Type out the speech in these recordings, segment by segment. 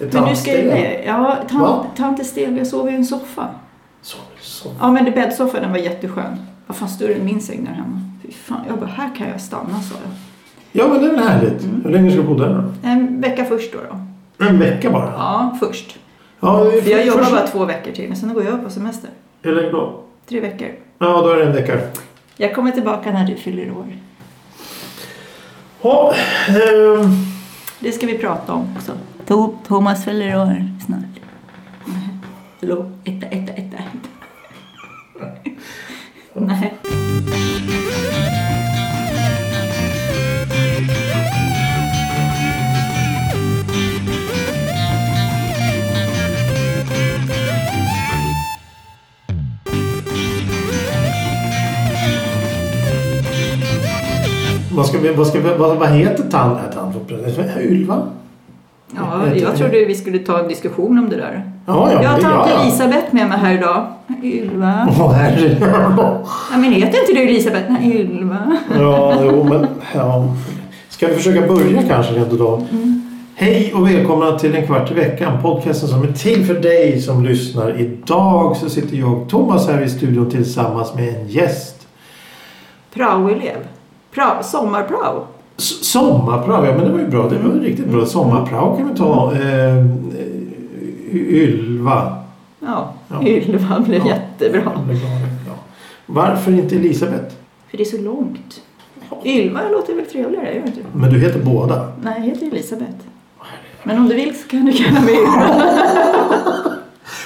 Ett Men nu ska jag ju tandsten. ner. Ja, Va? tant, tant Estelia sov i en soffa. Så, så. Ja, men det bäddsoffan den var jätteskön. Vad fan, större än min säng där hemma. Fy fan, jag bara, här kan jag stanna sa jag. Ja, men det är väl härligt. Mm. Hur länge ska du bo där då? En vecka först då. då. En vecka bara? Ja, först. Ja, det är För jag jobbar först- bara två veckor till, men sen går jag upp på semester. Hur länge då? Tre veckor. Ja, då är det en vecka. Jag kommer tillbaka när du fyller år. Ja, ehm, Det ska vi prata om också. To- Thomas fyller år snart. Hallå, etta, etta, etta. etta. Nej. vad, ska vi, vad, ska vi, vad, vad heter tand? Äh, tand Ylva? Ja, jag trodde vi skulle ta en diskussion om det där. Ja, ja. Jag har det- tant ja, Elisabeth med mig här idag. Ylva. Åh, herre. Ja, men heter inte du Elisabeth? Nej, Ylva. Ja, jo, men... Ja. Ska vi försöka börja kanske rent utav? Hej och välkomna till En kvart i veckan, podcasten som är till för dig som lyssnar. Idag så sitter jag, Thomas, här i studion tillsammans med en gäst. Praoelev. Pra- sommarprao. S- sommarprao, ja men det var ju bra. Det var ju riktigt bra. Sommarprao kan vi ta. Eh, Ylva. Ja, Ja. Ylva blev Ja. jättebra. Ja. Varför inte Elisabeth? För det är så långt. Ylva låter väl trevligare, gör det inte? Men du heter båda. Nej, jag heter Elisabeth. Men om du vill så kan du kalla mig Ylva.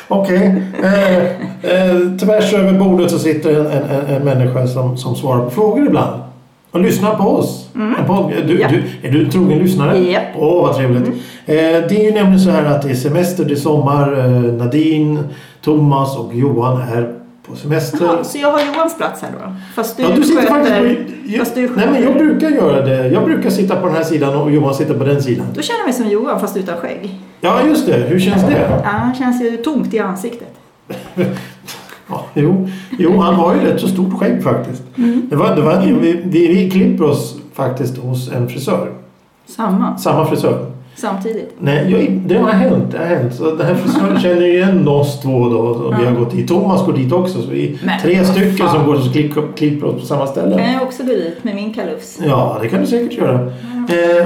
Okej. Eh, eh, tvärs över bordet så sitter en, en, en, en människa som, som svarar på frågor ibland. Och lyssnar på oss. En podd, du, Mm. Ja. du, är du en trogen lyssnare? Japp. Mm. Åh, vad trevligt. Eh, det är ju nämligen så här att det är semester, det är sommar. Eh, Nadine, Thomas och Johan är på semester. Ja, Så jag har Johans plats här då? Fast du, Ja, du sitter sköter... faktiskt på, Fast du jag, nej, sköter... men jag brukar göra det. Jag brukar sitta på den här sidan och Johan sitter på den sidan. Då känner jag mig som Johan fast utan skägg. Ja, just det. Hur känns det? Ja, han känns ju tomt i ansiktet. Ja, jo, jo, han har ju rätt så stort skägg faktiskt. Mm. Det var, det var, vi, vi, vi klipper oss faktiskt hos en frisör. Samma. Samma frisör. Samtidigt. Nej, jag, det har hänt. Det har hänt. Så den här frisören känner ju igen oss två då. Och vi har gått dit. Thomas går dit också. Så vi Men, är tre vad stycken fan. Eh, som går och klipper, klipper oss på samma ställe. Kan jag också gå dit med min kalufs? Ja, det kan du säkert göra. Eh,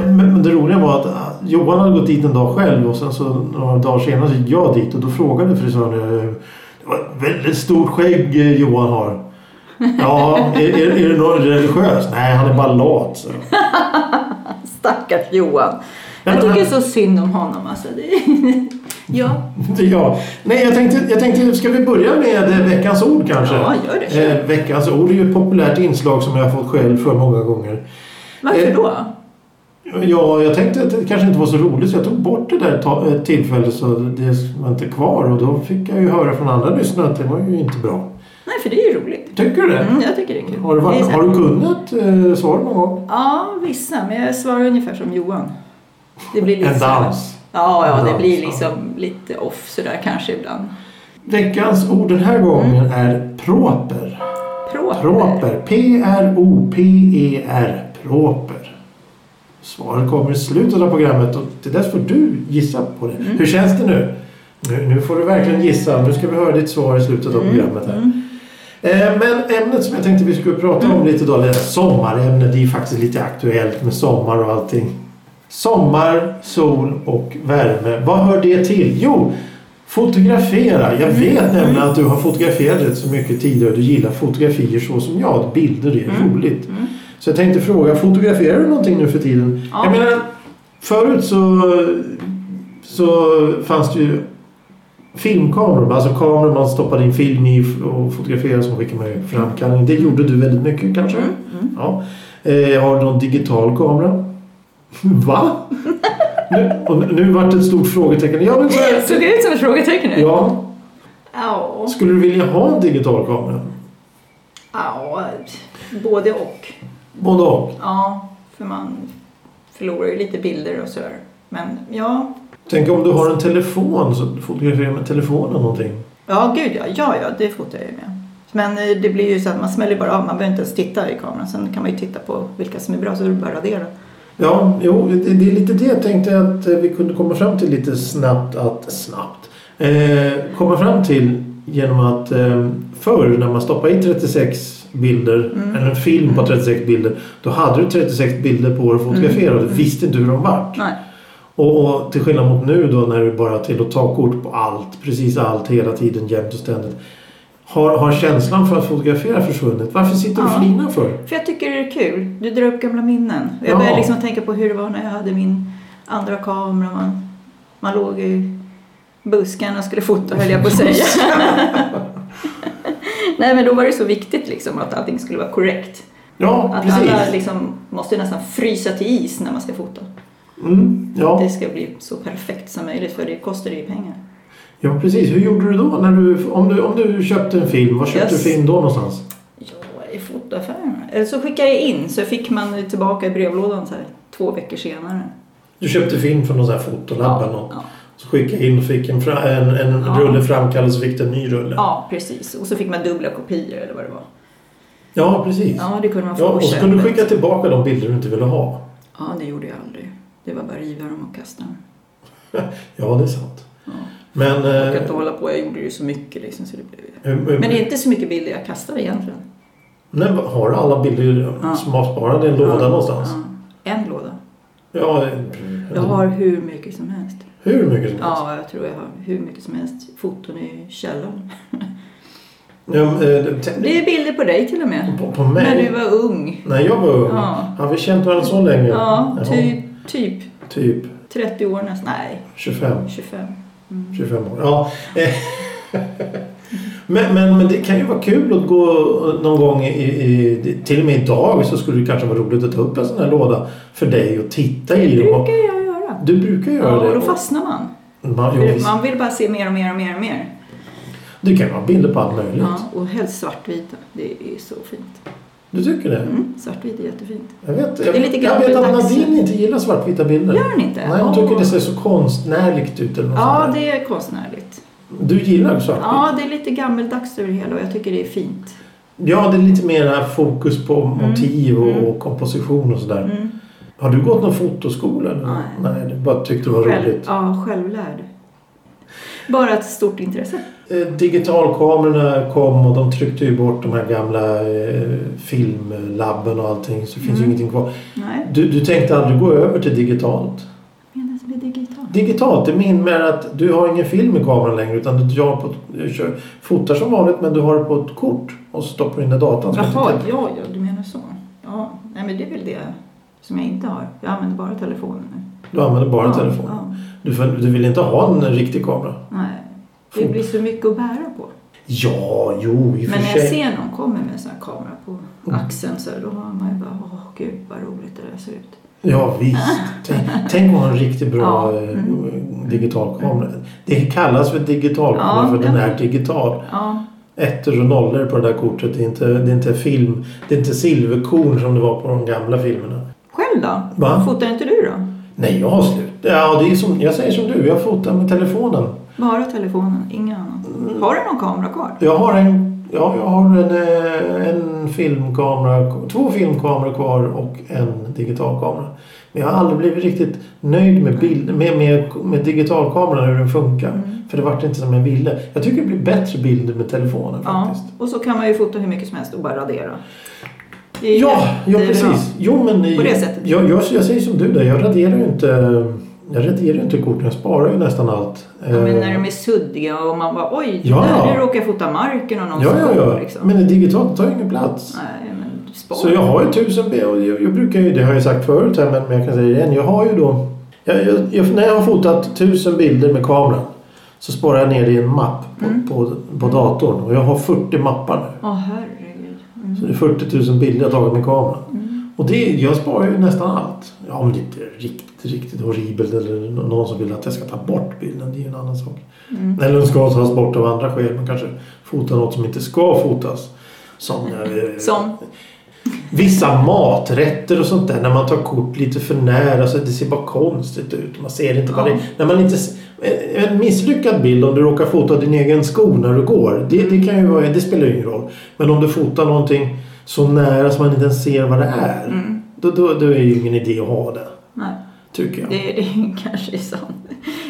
men- Men det roliga var att eh, Johan hade gått dit en dag själv och sen så några dagar senare så gick jag dit och då frågade frisören. eh, Det var ett väldigt stort skägg eh, Johan har. Ja, är, är, är det något religiöst? Nej, han är bara lat. Så. Stackars Johan. Jag men tycker han- så synd om honom alltså. Det... Ja, Ja. Nej, jag tänkte, jag tänkte, ska vi börja med eh, veckans ord kanske? Ja, gör det. Eh, veckans ord är ju ett populärt inslag som jag har fått skäll för många gånger. varför Eh, då? Ja, jag tänkte att det kanske inte var så roligt så jag tog bort det där ta- eh, tillfället så det var inte kvar och då fick jag ju höra från andra lyssnare att det var ju inte bra. Nej, för det är ju roligt. Tycker du det? Mm, jag tycker det är kul. Har, du Det är varit, så här- har du kunnat eh, svara någon gång? Ja, vissa. Men jag svarar ungefär som Johan. Det blir lite En så här- dans. Ja, ja, En det dans, blir ja. liksom lite off sådär kanske ibland. Veckans ord den här gången är proper. Proper. Proper. P-R-O-P-E-R. E Proper. Svaret kommer i slutet av programmet och till dess får du gissa på det. Hur känns det nu? nu? Nu får du verkligen gissa. Nu ska vi höra ditt svar i slutet av programmet. här. Eh, Men ämnet som jag tänkte vi skulle prata om lite idag, det är sommarämnet. Det är ju faktiskt lite aktuellt med sommar och allting. Sommar, sol och värme. Vad hör det till? Jo, fotografera. Jag Mm. vet nämligen att du har fotograferat rätt så mycket tidigare och du gillar fotografier så som jag. att Bilder är Mm. roligt. Så jag tänkte fråga, fotograferar du någonting nu för tiden? Ja. Jag menar, förut så, så fanns det ju filmkameror, alltså kameror man stoppade in film i och fotograferade som skickade med framkallning. Det gjorde du väldigt mycket kanske? Mm, Ja. Eh, har du någon digital kamera? Va? nu, och nu vart det ett stort frågetecken. Ja, men så här, Såg jag ut som liksom ett frågetecken nu? ja, Ja. skulle du vilja ha en digital kamera? ja. Både och. Både och. Ja, för man förlorar ju lite bilder och sådär. Men ja, Tänk om du har en telefon så fotograferar med telefonen någonting. ja gud ja, ja, ja det fotar jag ju med. Men eh, det blir ju så att man smäller bara av, man behöver inte ens titta i kameran. Sen kan man ju titta på vilka som är bra så är det bara att radera. Ja, jo, det, det är lite det jag tänkte att eh, vi kunde komma fram till lite snabbt att snabbt eh, komma fram till genom att eh, förr när man stoppade i 36 bilder Mm. eller en film på 36 bilder då hade du 36 bilder på dig fotograferade Mm. och du visste inte hur de vart. Nej. Och, och till skillnad mot nu då när du bara till att ta kort på allt, precis allt hela tiden jämt och ständigt. Har, har känslan för att fotografera försvunnit? Varför sitter du och Ja. flinar för? För jag tycker det är kul. Du drar upp gamla minnen. Och Jag Ja. börjar liksom tänka på hur det var när jag hade min andra kamera. Man, man låg i buskarna och skulle fota höll jag på att säga. Nej men då var det så viktigt liksom att allting skulle vara korrekt. Ja, Att precis. alla liksom måste nästan frysa till is när man ska fota. Mm, ja. Det ska bli så perfekt som möjligt för det kostar ju pengar. Ja, precis. Hur gjorde du då? När du, om, du, om du köpte en film, var köpte Yes. du film då någonstans? Ja, i fotoaffären. Eller så skickade Alltså, jag in så fick man tillbaka i brevlådan så här, två veckor senare. Du köpte film från någon sån här fotolabb eller något. ja. Så skickade jag in och fick en, fra, en, en Ja. rulle framkallad så fick du en ny rulle. Ja, precis. Och så fick man dubbla kopior eller vad det var. Ja, precis. Ja. Ja, det kunde man få på och så kunde du köpet. skicka tillbaka de bilder du inte ville ha. Ja, det gjorde jag aldrig. Det var bara riva dem och kasta dem. Ja, det är sant. Ja. Men... Jag kan Eh, inte hålla på, jag gjorde ju så mycket liksom så det blev... hur- hur- Men det är inte så mycket bilder jag kastade egentligen. nej, vad- har du alla bilder Ja. som har sparade i en låda Ja, någonstans? Ja. En låda. Ja, eh, Jag har hur mycket som helst. hur mycket som helst. Ja, jag tror jag har hur mycket som helst. Foton i källaren. Ja. eh, tänk- Det är bilder på dig till och med. på, på mig? När du var ung. När jag var ung? Ja. Har vi känt varandra så länge? Ja, typ, typ Typ 30 år nästan. Nej, Mm. 25. 25. 25 år. Ja. eh, Men, men, men det kan ju vara kul att gå någon gång i, i, till och med idag så skulle det kanske vara roligt att ta upp en sån här låda för dig och titta Det i den. brukar Och- jag göra. Du brukar göra Ja, det. och då och- fastnar man. Man, jo, visst. Man vill bara se mer och mer och mer och mer. Du kan ha bilder på allt möjligt. Ja, och helst svartvita. Det är så fint. Du tycker det? Mm, svartvit är jättefint. Jag vet, jag, Det är lite jag grann vet att dags. Nadine inte gillar svartvita bilder. Gör den inte? Nej, hon tycker Åh. det ser så konstnärligt ut. Eller något Ja, sånt där. det är konstnärligt. Du gillar svartvitt? Ja, det är lite gammeldags över det hela och jag tycker det är fint. Ja, det är lite mer fokus på motiv och, och komposition och sådär. Mm. Har du gått någon fotoskola? eller? Nej. Nej, du bara tyckte det var roligt. ja, självlärd. Bara ett stort intresse. Eh, Digitalkamerorna kom och de tryckte ju bort de här gamla eh, filmlabben och allting så det finns ju Mm. ingenting kvar. Nej, Du, du tänkte aldrig gå över till digitalt? menas med digitalt. Digitalt, det innebär att du har ingen film i kameran längre utan du gör på, du kör, fotar som vanligt men du har det på ett kort och så stoppar du in i datan. så att Jaha, det- ja, ja, du menar så. Ja, nej men det är väl det som jag inte har. Jag använder bara telefonen nu. Du använder bara ja, telefonen. Ja, Du, får- du vill inte ha en riktig kamera? nej. Det blir så mycket att bära på. Ja, jo i och Men för när jag sig. Mm. ser någon komma med en sån här kamera på axeln så här, då har man ju bara, åh gud vad roligt det där ser ut. Ja visst. Tänk- Tänk om man har en riktigt bra Ja, eh, mm. digital kamera. Det kallas för digital kamera Ja, för den ja. är digital. Ja, Ettor och nollor på det där kortet. Det är inte, det är inte film. Det är inte silverkorn som det var på de gamla filmerna. själv då? Va? Fotar inte du då? Nej, jag har slut. Ja, det är som, jag säger som du. Jag fotar med telefonen. Bara telefonen, inget annat. Mm. Har du någon kamera kvar? Jag har en Ja, jag har en, eh, en filmkamera, två filmkameror kvar och en digital kamera. Men jag har aldrig blivit riktigt nöjd med, bild, med, med, med digitalkameran, hur den funkar. Mm. För det vart inte som jag ville. Jag tycker det blir bättre bilder med telefonen Ja, faktiskt. och så kan man ju fota hur mycket som helst och bara radera. Det är Ja, ja jättebra. precis. Jo, men i- På det sättet. Jag, jag, jag säger som du där, jag raderar ju inte, jag raderar ju inte korten. Jag sparar ju nästan allt. Ja, men Eh, när de är suddiga och man bara oj, Ja. där nu råkar jag fota marken och någon ja, ja, som ja. går, liksom. Men det digitalt tar ju ingen plats. Nej, men spara. Så jag har ju tusen bilder. och Jag, jag brukar ju, det har jag sagt förut här men, men jag kan säga det igen. Jag har ju då, jag, jag, jag, när jag har fotat tusen bilder med kameran så sparar jag ner det i en mapp på, Mm. på, på datorn. Och jag har 40 mappar nu. Åh, herregud. Mm. Så det är 40 000 bilder jag tagit med kameran. Och det, jag sparar ju nästan allt. Ja, om det inte är riktigt, riktigt horribelt eller nå- någon som vill att jag ska ta bort bilden. Det är ju en annan sak. Mm. Eller den ska tas bort av andra skäl. Man kanske fotar något som inte ska fotas. Som, eh, Som? Vissa maträtter och sånt där när man tar kort lite för nära så det ser bara konstigt ut. Man ser inte vad Ja. det när man inte s- en- En misslyckad bild om du råkar fota din egen sko när du går. Det, det, kan ju vara, det spelar ju ingen roll. Men om du fotar Mm. någonting så nära så man inte ens ser vad det är. Då, då, då är det ju ingen idé att ha det. tycker jag. Det, det kanske är sant.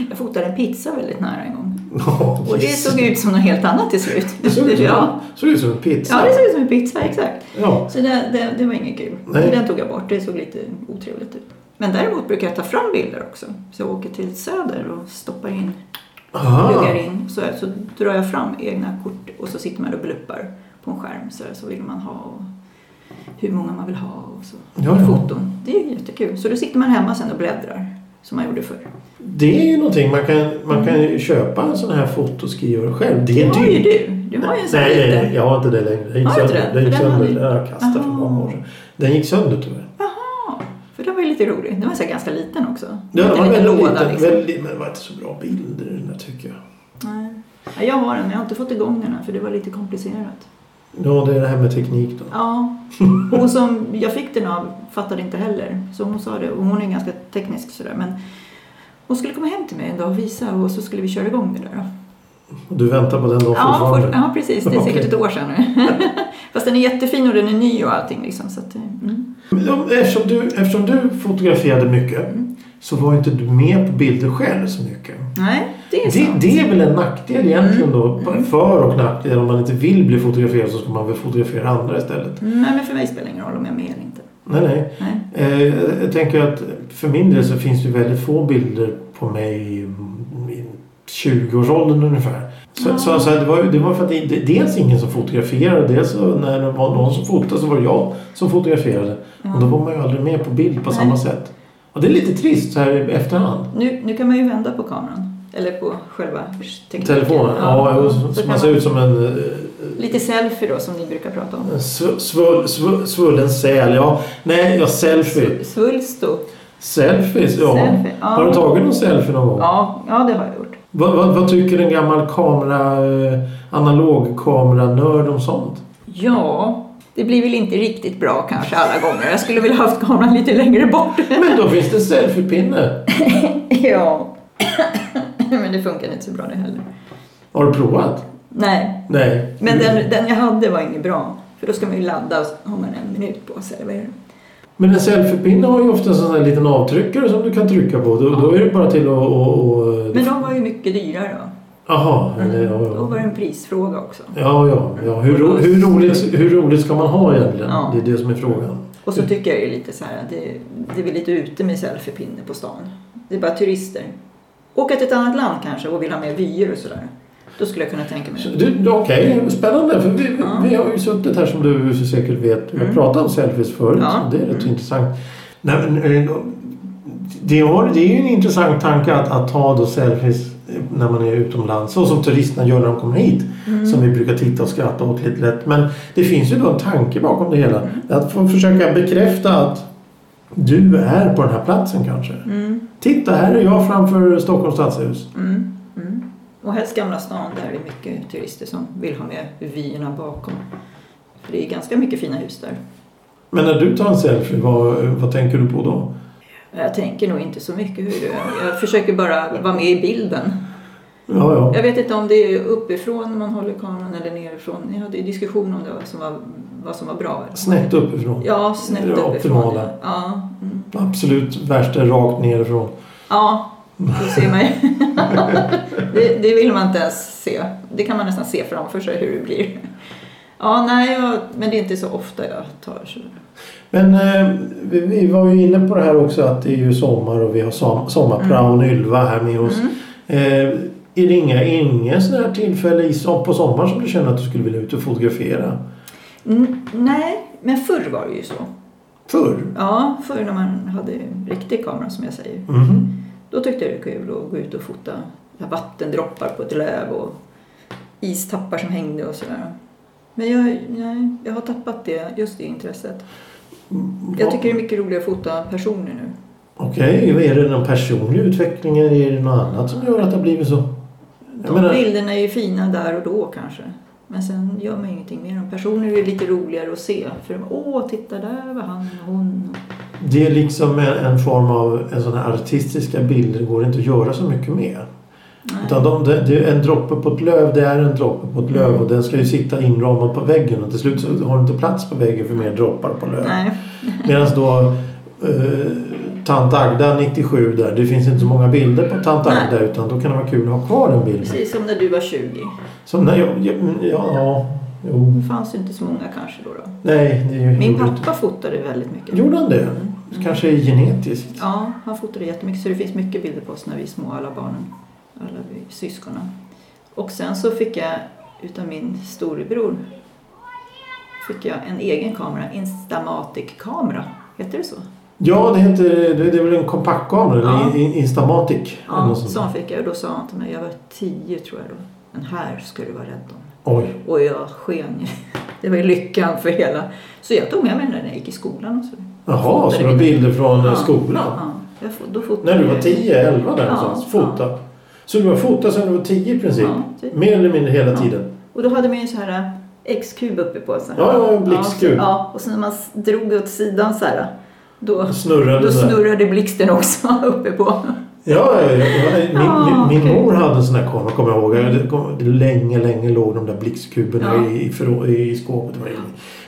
Jag fotade en pizza väldigt nära en gång. Ja, Och det visst. såg ut som något helt annat till slut. Det såg ut som, ja. såg ut som en pizza. ja, det såg ut som en pizza, exakt. Ja. Så det, det, det var inget kul. Nej. Så den tog jag bort. Det såg lite otrevligt ut. Men däremot brukar jag ta fram bilder också. Så jag åker till Söder och stoppar in, Aha. Ah. pluggar in. Så, så drar jag fram egna kort och så sitter man och bluppar på en skärm. Så, så vill man ha och hur många man vill ha och så. Ja, ja. Foton. Det är ju jättekul. Så då sitter man hemma sen och bläddrar. Som man gjorde förr. Det är ju någonting man kan, man kan ju köpa en sån här fotoskrivare själv. Det Det är har ju dyrt. du. Du har ju en sån Nej, nej, liten. nej, jag har inte det längre. Den gick Har du inte sönder. det? Den gick För den sönder. hade- Ja, Jag kastade för Aha. många år sedan. Den gick sönder tyvärr. Jaha, för den var ju lite rolig. Den var så här ganska liten också. Ja, Lite den var liten väldigt låda, liten. liksom. Väldigt, men det var inte så bra bilder i den där tycker jag. Nej. Ja, jag har den, men jag har inte fått igång den här för det var lite komplicerat. Ja, det är det här med teknik då. Ja, hon som jag fick den av fattade inte heller. Så hon sa det, och hon är ganska teknisk sådär. Men hon skulle komma hem till mig en dag och visa och så skulle vi köra igång det där. Då. Och du väntar på den dagen Ja, fortfarande? för, ja, precis. Det är Okej. säkert ett år sedan nu. Fast den är jättefin och den är ny och allting liksom. Så att, eh, mm. Men om- Eftersom du, eftersom du fotograferade mycket Mm. så var ju inte du med på bilder själv så mycket. Nej, det är Det, sant. Mm. det är väl en nackdel egentligen då. För och nackdel. Om man inte vill bli fotograferad så ska man väl fotografera andra istället. Nej, men för mig spelar det ingen roll om jag är med eller inte. Nej, nej. Nej. Eh, jag tänker att för min del så finns det ju väldigt få bilder på mig i i 20-årsåldern ungefär. Så, Ja. så, så det, var, ju- det var för att det, det, dels ingen som fotograferade. Dels så när det var någon som fotade så var det jag som fotograferade. Och då var man ju aldrig med på bild på Nej. samma sätt. Och det är lite trist så här i efterhand. Nu, nu kan man ju vända på kameran. Eller på själva tekniken. Telefonen, ja. jo, Så så, så kan man ser ut som en eh, Lite selfie då som ni brukar prata om. En sv- svull- svull- Svullen säl, ja. Nej, ja, selfie. Svulsto. Selfies, ja. Selfie, ja. Har du tagit någon selfie någon gång? Ja, ja, det har jag gjort. Vad, vad, vad tycker en gammal kamera, eh, analogkameranörd om sånt? Ja, det blir väl inte riktigt bra kanske alla gånger. Jag skulle vilja haft kameran lite längre bort. Men då finns det selfiepinne. ja. Men det funkar inte så bra det heller. Har du provat? Nej, Nej. men den, den jag hade var ingen bra. För då ska man ju ladda och så har man en minut på sig. Eller vad är det? Men en selfiepinne har ju ofta en sån här liten avtryckare som du kan trycka på. Då, då är det bara till att... och- och- Men de var ju mycket dyrare då. Jaha. eller, ja, Då var ja. det en prisfråga också. Ja, ja. ja. Hur, ro, hur, roligt, hur roligt ska man ha egentligen? Ja. Det är det som är frågan. Och så tycker jag ju lite så här att det, det är väl lite ute med selfiepinne på stan. Det är bara turister. Åka till ett annat land kanske och vill ha mer vyer och sådär. Då skulle jag kunna tänka mig Så det. Du, du, Okej, spännande. För vi, vi- Ja. vi har ju suttit här som du säkert vet. Vi har Mm. pratat om selfies förut. Ja. Mm. Det är rätt intressant. Nej, men, eh, det, har, det är ju en intressant tanke att, att ta då selfies eh, när man är utomlands. Så som turisterna gör när de kommer hit. Mm. Som vi brukar titta och skratta åt lite lätt. Men det finns ju då en tanke bakom det hela. Mm. Att få försöka bekräfta att du är på den här platsen kanske. Mm, Titta, här är jag framför Stockholms stadshus. mm, mm. Och helst Gamla stan där det är mycket turister som vill ha med vyerna bakom. För det är ganska mycket fina hus där. Men när du tar en selfie, vad, vad tänker du på då? Jag tänker nog inte så mycket hur det är. Jag försöker bara vara med i bilden. Ja, ja. Jag vet inte om det är uppifrån man håller kameran eller nerifrån. Ni hade ju diskussion om det, vad som var, vad som var bra. Snett uppifrån. Ja, Det snett är det uppifrån. optimala. Ja, mm. Absolut värst är rakt nerifrån. ja då ser man ju. det, det vill man inte ens se. Det kan man nästan se framför sig hur det blir. Ja, nej, jag, men det är inte så ofta jag tar så. Men eh, vi, vi var ju inne på det här också att det är ju sommar och vi har som, sommarpraon Ylva här med oss. Mm. Eh, är det inga, ingen sån här tillfälle i, som- på sommaren som du känner att du skulle vilja ut och fotografera? N- nej, men förr var det ju så. Förr? Ja, förr när man hade riktig kamera som jag säger. Mhm. Då tyckte jag det var kul att gå ut och fota vattendroppar på ett löv och istappar som hängde och sådär. Men jag, nej, jag har tappat det, just det intresset. Jag tycker det är mycket roligare att fota personer nu. Okej, är det någon personlig utveckling eller är det något annat som gör att det har blivit så? De bilderna är ju fina där och då kanske. Men sen gör man ju ingenting med dem. Personer är lite roligare att se. För de, åh, titta där var han och hon. Det är liksom en, en form av en sån här artistiska bilder går inte att göra så mycket med. Utan de, det, det är en droppe på ett löv, det är en droppe på ett Mm. löv och den ska ju sitta inramad på väggen och till slut så har du inte plats på väggen för mer droppar på löv. Nej. Medan då eh, Tant Agda 97 där. Det finns inte så många bilder på Tant Nej. Agda utan då kan det vara kul att ha kvar den bilden. Precis som när du var 20. Som när jag, ja, ja, jo. Det fanns ju inte så många kanske då. då. Nej, det är ju Min gjorde pappa Mm. fotade väldigt mycket. inte- Gjorde han det? Kanske är genetiskt. Ja, han fotade jättemycket så det finns mycket bilder på oss när vi är små, alla barnen, alla vi syskonen. Och sen så fick jag utav min storebror fick jag en egen kamera, Instamatic-kamera. Heter det så? Ja, det heter, det det är väl en kompaktkamera, Ja. eller in- Instamatic. eller Ja, något sånt. sån fick jag och då sa han till mig, jag var tio tror jag då, men här ska du vara rädd om. Oj, Och jag sken ju. Det var ju lyckan för hela. Så jag tog med mig den där när jag gick i skolan. Och så. jaha, så Fotade det var vi- bilder från eh, Ja, skolan? Ja, jag, fo- då fotade När du var jag- 10, 11 där Eh, Ja, någonstans? ja. Fota? Så du har fotat sedan du var 10 i princip? Ja, typ. Mer eller mindre hela Ja. tiden? Och då hade man ju en sån här äh, X-kub uppe på. Så här. Ja, ja, en blixtkub. Ja, så- ja, och sen när man s- drog åt sidan så här. äh, Då, Snurrade då den där. snurrade blixten också uppe på. Ja, ja, ja, ja. Min, Ja, min, min okej. mor hade en sån där kamera kommer jag ihåg. Det kom, det länge, länge låg de där blixtkuberna Ja. i, i, förrå- i skåpet. Det var ingen-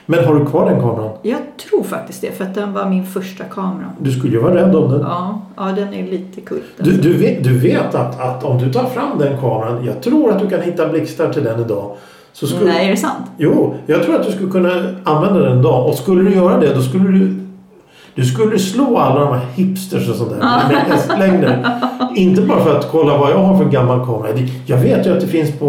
Men har du kvar den kameran? Jag tror faktiskt det, för att den var min första kamera. Du skulle ju vara rädd om den. Ja, ja den är lite kult. Du, du vet, du vet att, att om du tar fram den kameran, jag tror att du kan hitta blixtar till den idag. Så skulle, Nej, är det sant? Jo, jag tror att du skulle kunna använda den idag. Och skulle du göra det, då skulle du... Du skulle slå alla de här hipsters och sånt där med hästlängder. Inte bara för att kolla vad jag har för gammal kamera. Det- Jag vet ju att det finns, på,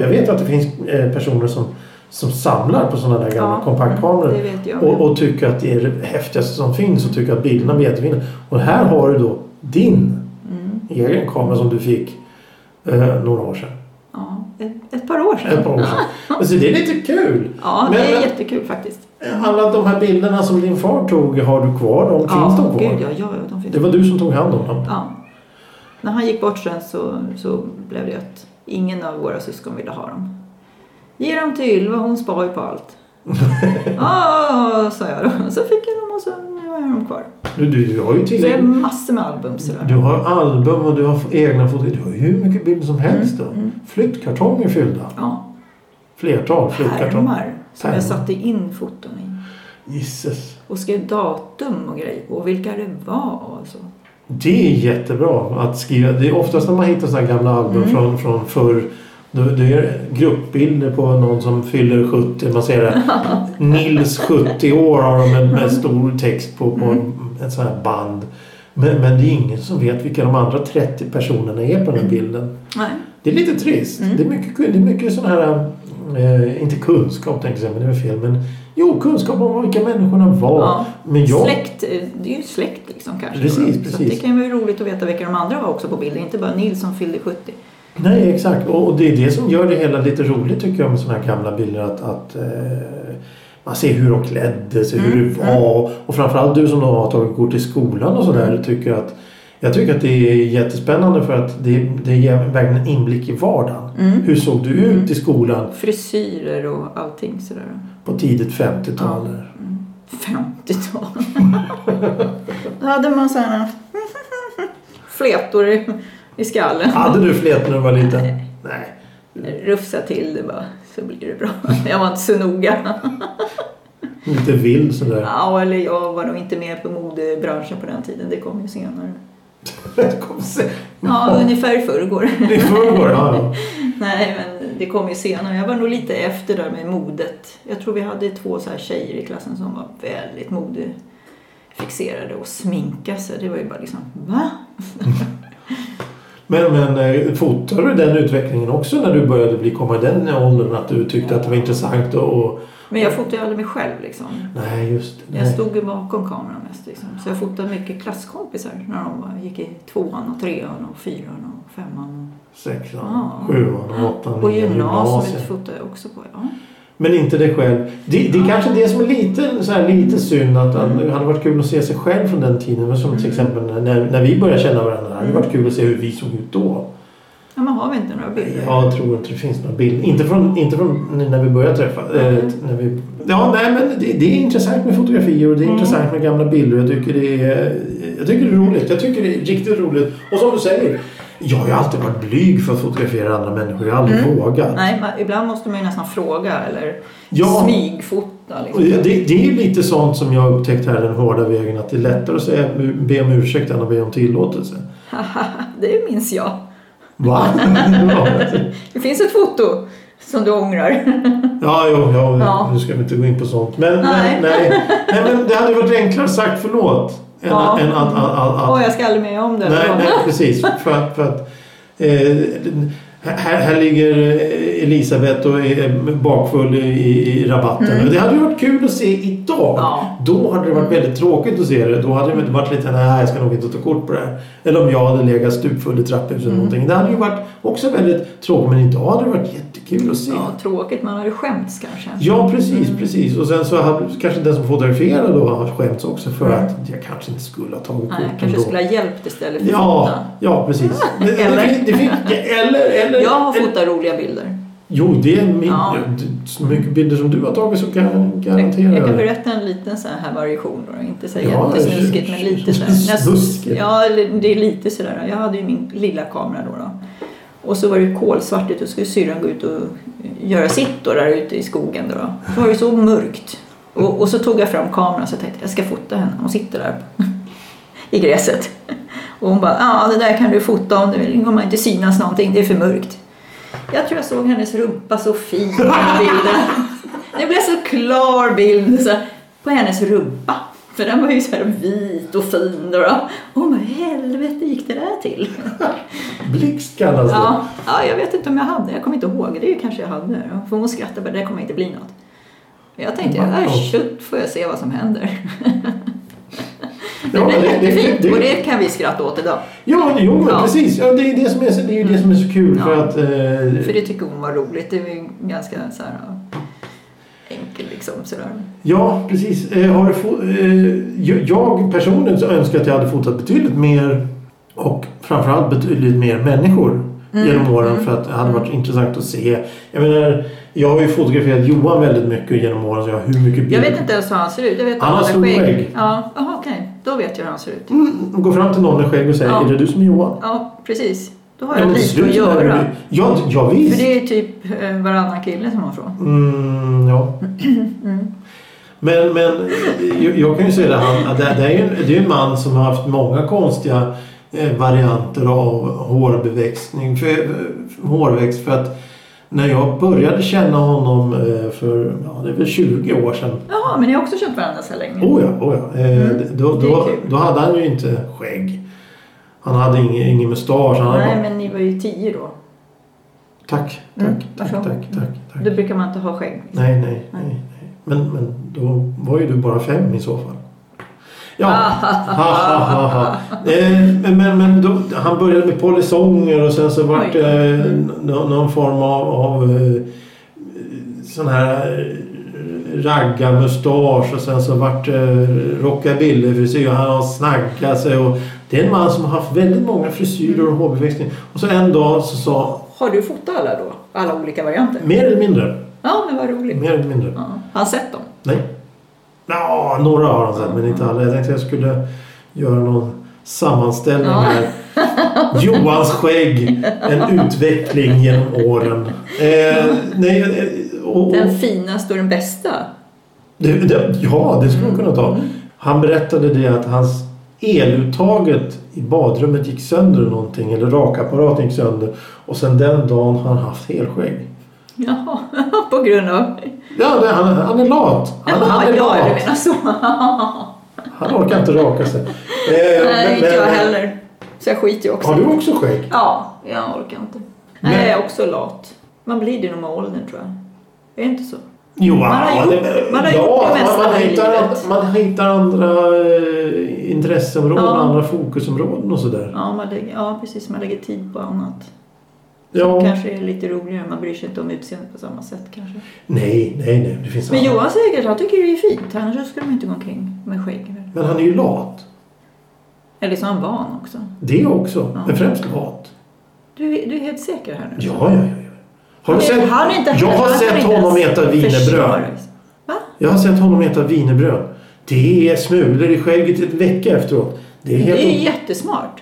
jag vet att det finns eh, personer som, som samlar på sådana där gamla Ja, kompaktkameror. Det vet jag. Och, och tycker att det är det häftigaste som finns och tycker att bilderna blir jättefina. Och här har du då din Mm, egen kamera som du fick eh, några år sedan. ja, ett, ett par år sedan. Ett par år sedan. Men så det är lite kul. Ja, det Men- är men- jättekul faktiskt. Alla de här bilderna som din far tog, har du kvar dem? Finns ja, de kvar? Gud, ja, ja, ja, de finns. Det var du som tog hand om dem. Ja. När han gick bort sen så, så blev det att ingen av våra syskon ville ha dem. Ge dem till Ylva, hon spar ju på allt. Ja, sa jag då. Så fick jag dem och så nu har jag dem kvar. Du, du, du har ju Så jag har till massor med album sådär. Du har album och du har egna foton. Du har ju hur mycket bilder som helst då. mm. Flyttkartonger fyllda. Ja, Flertal flyttkartonger. pärmar som Pärmar. jag satte in foton i. Jisses. Och skrev datum och grejer på och vilka det var och så. Det är jättebra att skriva. Det är oftast när man hittar sådana gamla album Mm. från, från förr. Då, då är det gruppbilder på någon som fyller 70. Man ser det. Nils 70 år har de med, med stor text på, på Mm. ett sånt här band. Men, men det är ingen som vet vilka de andra 30 personerna är på den här bilden. Nej. Det är lite trist. Mm. Det är mycket, kun- det är mycket sån här, eh, inte kunskap tänkte jag säga, men det var fel. Men jo, kunskap om vilka människorna var. Ja. Men jag, Släkt, eh, det är ju släkt liksom kanske. Precis, då. Så att precis. det kan ju vara roligt att veta vilka de andra var också på bilden. Inte bara Nils som fyllde 70. Nej, exakt. Och och det är det som gör det hela lite roligt tycker jag med såna här gamla bilder. Att, att eh, man ser hur de klädde sig, hur Mm, det var. Och framförallt du som då har tagit kort i skolan och sådär tycker att jag tycker att det är jättespännande för att det, det ger verkligen en inblick i vardagen. Mm. Hur såg du ut i skolan frisyrer och allting sådär. på tidigt 50-tal? 50-tal. Då hade man sådana fletor i, i skallen. Hade du flet när du var liten? Nej. Rufsa till det bara, så blir det bra. Jag var inte så noga. Lite vild sådär. Ja, eller jag var nog inte med på modebranschen på den tiden. Det kom ju senare. Det kom sen. Ja, ungefär i förrgår. I förrgår? Ja, ja. Nej, men det kom ju senare. Jag var nog lite efter där med modet. Jag tror vi hade två så här tjejer i klassen som var väldigt modefixerade och sminka sig. Det var ju bara liksom, va? Men, men eh, fotar du den utvecklingen också när du började bli, komma i den åldern att du tyckte att det var intressant och... och Men jag fotade ju aldrig mig själv liksom. nej, just det. Jag Nej. stod ju bakom kameran mest liksom. Så jag fotade mycket klasskompisar när de var- gick i tvåan och trean och fyran och femman. Sexan, Ja. sjuan, åttan, Och nian, gymnasiet fotade jag också på. Ja. Men inte dig själv. Det, det är kanske det som är lite, så här, lite synd. Att, att Mm. det hade varit kul att se sig själv från den tiden. Men som till exempel när, när vi började känna varandra. Det hade varit Mm. kul att se hur vi såg ut då. ja, men har vi inte några bilder? Jag tror inte det finns några bilder. Inte från, inte från när vi började träffa. eh, Mm. när vi, ja, nej, men det, det är intressant med fotografier och det är Mm. intressant med gamla bilder. Jag tycker, det är, jag tycker det är roligt. Jag tycker det är riktigt roligt. Och som du säger, jag har ju alltid varit blyg för att Mm. fotografera andra människor. Jag har aldrig vågat. Nej, man, ibland måste man ju nästan fråga eller Ja. smygfota fota. Och Liksom. Det, det är ju lite sånt som jag har upptäckt här den hårda vägen. Att det är lättare att säga, be om ursäkt än att be om tillåtelse. Det minns jag. Va? Det finns ett foto som du ångrar. ja, jo, ja, Ja. nu ska vi inte gå in på sånt. Men, Nej. men, nej. nej, men det hade varit enklare sagt förlåt. Än, Ja. än att, att, att, att Åh, jag ska aldrig med om det. Nej, nej precis. För att, för att, eh, här, här ligger eh, Elisabeth och är bakfull i, i, i rabatten. Mm. Och Det hade ju varit kul att se idag. Ja. Då hade det varit väldigt tråkigt att se det. Då hade det inte varit lite nej jag ska nog inte ta kort på det här. Eller om jag hade legat stupfull i trapphuset. Mm. eller någonting. Det hade ju varit också väldigt tråkigt. Men idag hade det varit jättekul att se. Ja, tråkigt, man hade skämts kanske. Ja, precis, precis. Och sen så hade kanske den som fotograferade då har skämts också för Mm. att jag kanske inte skulle ha tagit kort Nej, jag kanske ändå. skulle ha hjälpt istället för att Ja, fota. ja precis. Det- det- Eller? Det, det, fin- det, eller, eller, Jag har eller- fotat roliga bilder. Jo, det är min, Ja. det- så mycket bilder som du har tagit så kan jag Jag, garantera jag kan det. berätta en liten så här variation då. Inte så här Ja, jättesnuskigt men lite så här. snuskigt. ja, eller det är lite sådär. Jag hade ju min lilla kamera då. då. Och så var det kolsvart ute och så skulle syrran gå ut och göra sitt då där ute i skogen. Då, då. Så var det så mörkt. Och, och så tog jag fram kameran så jag tänkte jag ska fota henne. Hon sitter där i gräset. Och hon bara, ja det där kan du fota om du vill. Det kommer inte synas någonting, det är för mörkt. Jag tror jag såg hennes rumpa så fin i den bilden. Det blev så klar bild så här, på hennes rumpa. För den var ju så här vit och fin. Då, då. Och hon bara, helvete gick det där till? Blixt kallas det. Ja, ja, jag vet inte om jag hade. Jag kommer inte ihåg. Det kanske jag hade. För hon skrattade bara, det kommer inte bli något. Jag tänkte, Wow. äsch, får jag se vad som händer. Ja, Det blir det- det- jättefint det- och det kan vi skratta åt idag. Ja, jo, men Ja. Mm. precis. Ja, det är ju det, som är, så- det, är ju det som är så kul. Ja. För att, eh, För det tycker hon var roligt. Det är ju ganska så här ja, enkel liksom sådär. Ja, precis. Eh, har du fo- eh, jag- jag personligen så önskar att jag hade fotat betydligt mer och framförallt betydligt mer människor Mm, genom åren mm, för att det hade varit intressant att se. Jag menar, jag har ju fotograferat Johan väldigt mycket genom åren så jag har hur mycket Jag bilder- vet inte ens hur han ser ut. Jag vet att Han har stor skägg. Ja, aha, okej. Då vet jag hur han ser ut. Mm, gå fram till någon med skägg och säga Ja. är det du som är Johan? Ja, precis. Då har Ja, jag men till lite slut att så är det göra. ju- Ja, ja visst. För det är typ eh, varannan kille som har från. Mm, ja. Mm. Men, men jag, jag kan ju säga det, han, att det, det är ju en, det är ju en man som har haft många konstiga eh, varianter av hårbeväxtning. För, för, hårväxt för att när jag började känna honom eh, för ja, det är väl 20 år sedan. Jaha, men ni har också känt varandra så här länge? Oh ja, oh ja. Eh, Mm, Då, det är då, kul. då hade han ju inte skägg. Han hade ingen, ingen mustasch. Han hade Nej, bara, men ni var ju tio då. tack, tack, Mm, tack, varför? tack, tack, tack. Då brukar man inte ha skägg. liksom. Nej, nej, nej. nej. Men, men då var ju du bara fem i så fall. Ja, ha, ha, ha, ha. Eh, men, men, men då, han började med polisonger och sen så var Oj. det eh, nå- någon form av, av eh, sån här eh, raggarmustasch och sen så vart det rockabillyfrisyr och han har snaggat sig och det är en man som har haft väldigt många frisyrer och hårbeväxtning och så en dag så sa Har du fotat alla då? Alla olika varianter? mer eller mindre, Ja, men vad roligt. mer eller mindre. Ja. Har han sett dem? Nej. Ja, några har han sett men inte alla. Jag tänkte jag skulle göra någon sammanställning Ja. här. Johans skägg, en utveckling genom åren. Eh, nej, eh, och, och, Den finaste och den bästa? det, det, ja, det skulle man kunna Mm. ta. Han berättade det att hans eluttaget i badrummet gick sönder någonting eller rakapparaten gick sönder och sen den dagen har han haft helskägg. Jaha, på grund av... Ja, det, han, han är lat. Han, han är ja, du lat. menar så. Han orkar inte raka sig. Eh, Nej, men- inte men- jag heller. Så jag skiter ju också. Har du också skägg? Ja, jag orkar inte. Nej, Men- jag är också lat. Man blir det nog med åldern tror jag. Är det inte så? Jo, Man har ja, gjort- det- man har ja, gjort det man- mesta man här i hittar, livet. Man hittar andra eh, intresseområden, Ja. andra fokusområden och sådär. Ja, man lägger, ja precis. Man lägger tid på annat. Ja. Kanske är det lite roligare. Man bryr sig inte om utseendet på samma sätt kanske. Nej, nej, nej. Det finns Men annat. Johan säkert, han tycker det är fint. Annars skulle man inte gå omkring med skägg. väl? Men han är ju lat. Eller så är han van också. Det också. Ja. Men främst lat. Du, är- du är helt säker här nu? Ja, ja, ja. ja. Har du Men sett, han är inte jag har han kan sett inte honom ens äta försvara wienerbröd. sig. Va? Jag har sett honom äta wienerbröd. Det är smulor i skägget en vecka efteråt. Det är Det helt... är ju jättesmart.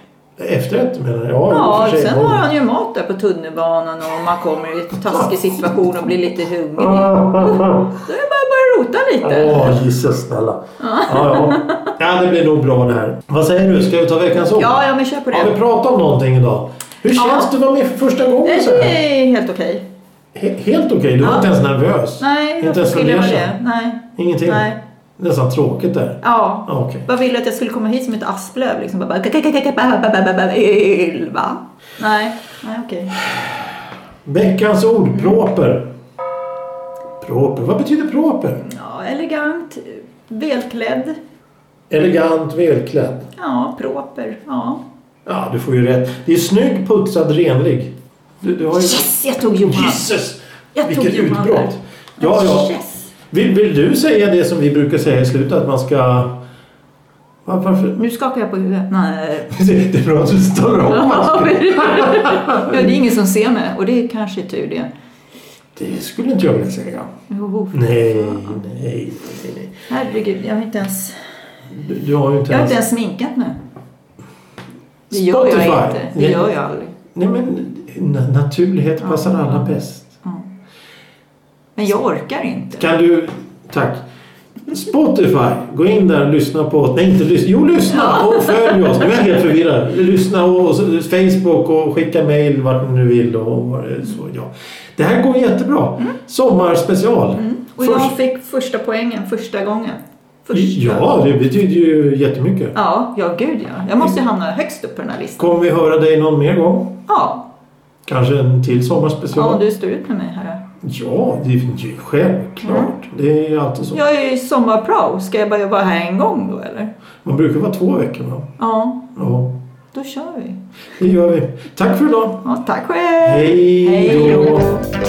Efterrätt menar jag. Ja, i Ja, och för sig. sen har han ju mat där på tunnelbanan och man kommer i en taskig situation och blir lite hungrig. Då är det bara att börja rota lite. Åh, gissas snälla. Ja. Ja, ja, det blir nog bra det här. Vad säger du, ska vi ta veckans ord? Ja, ja, men kör på det. Har vi pratat om någonting idag? Hur Ja. känns det att vara med för första gången Nej, så här? det är helt okej. He- Helt okej, du var Ja. inte ens nervös. Nej, Inte varför ens skulle jag vara det? fundersam. Nej. Ingenting. Nej. Nästan tråkigt där. Ja. Ja, okej. Vad ville du att jag skulle komma hit som ett asplöv? Liksom bara... Ylva? Nej, nej okej. Veckans Mm. ord, proper. Proper, vad betyder proper? Ja, elegant, välklädd, Elegant, välklädd. ja, proper. Ja. Ja, du får ju rätt. Det är snygg, putsad, renlig. Du, du har ju... Yes, jag tog Johan! Jesus! Jag tog Vilket Johan där. Alltså, utbrott! Ja, ja. Yes. Vill, vill du säga det som vi brukar säga i slutet, att man ska... Va- Varför? Nu skakar jag på huvudet. Nej. Det är bra att du står upp. Ja, det är ingen som ser mig och det är kanske tur det. Det skulle inte jag vilja säga. Oh, Nej, nej, nej, nej. herregud, jag har inte ens, Du, du har ju inte jag har ens... inte ens sminkat mig. Det gör jag Spotify. inte. Det gör jag aldrig. Nej, men na- naturlighet passar alla bäst. Men jag orkar inte. Kan du... Tack. Spotify, gå in där och lyssna på... Nej, inte lyssna. Jo, lyssna och följ oss. Nu är jag helt förvirrad. Lyssna och och så- Facebook och skicka mejl vart ni vill och vad det är, så. Ja. Det här går jättebra. Sommarspecial. Mm. Och jag Först- fick första poängen första gången. Första. Ja, det betyder ju jättemycket. Ja, ja gud ja. Jag måste ju hamna högst upp på den här listan. Kommer vi höra dig någon mer gång? Ja, Kanske en till ja om sommarspecial? du står ut med mig här. Ja, det är ju självklart. Mm. Det är alltid så. Jag är ju sommarprao. Ska jag bara vara här en gång då eller? Man brukar vara två veckor, va? Ja, Ja, då kör vi. det gör vi. Tack för idag. Ja, tack själv. Hej då. då.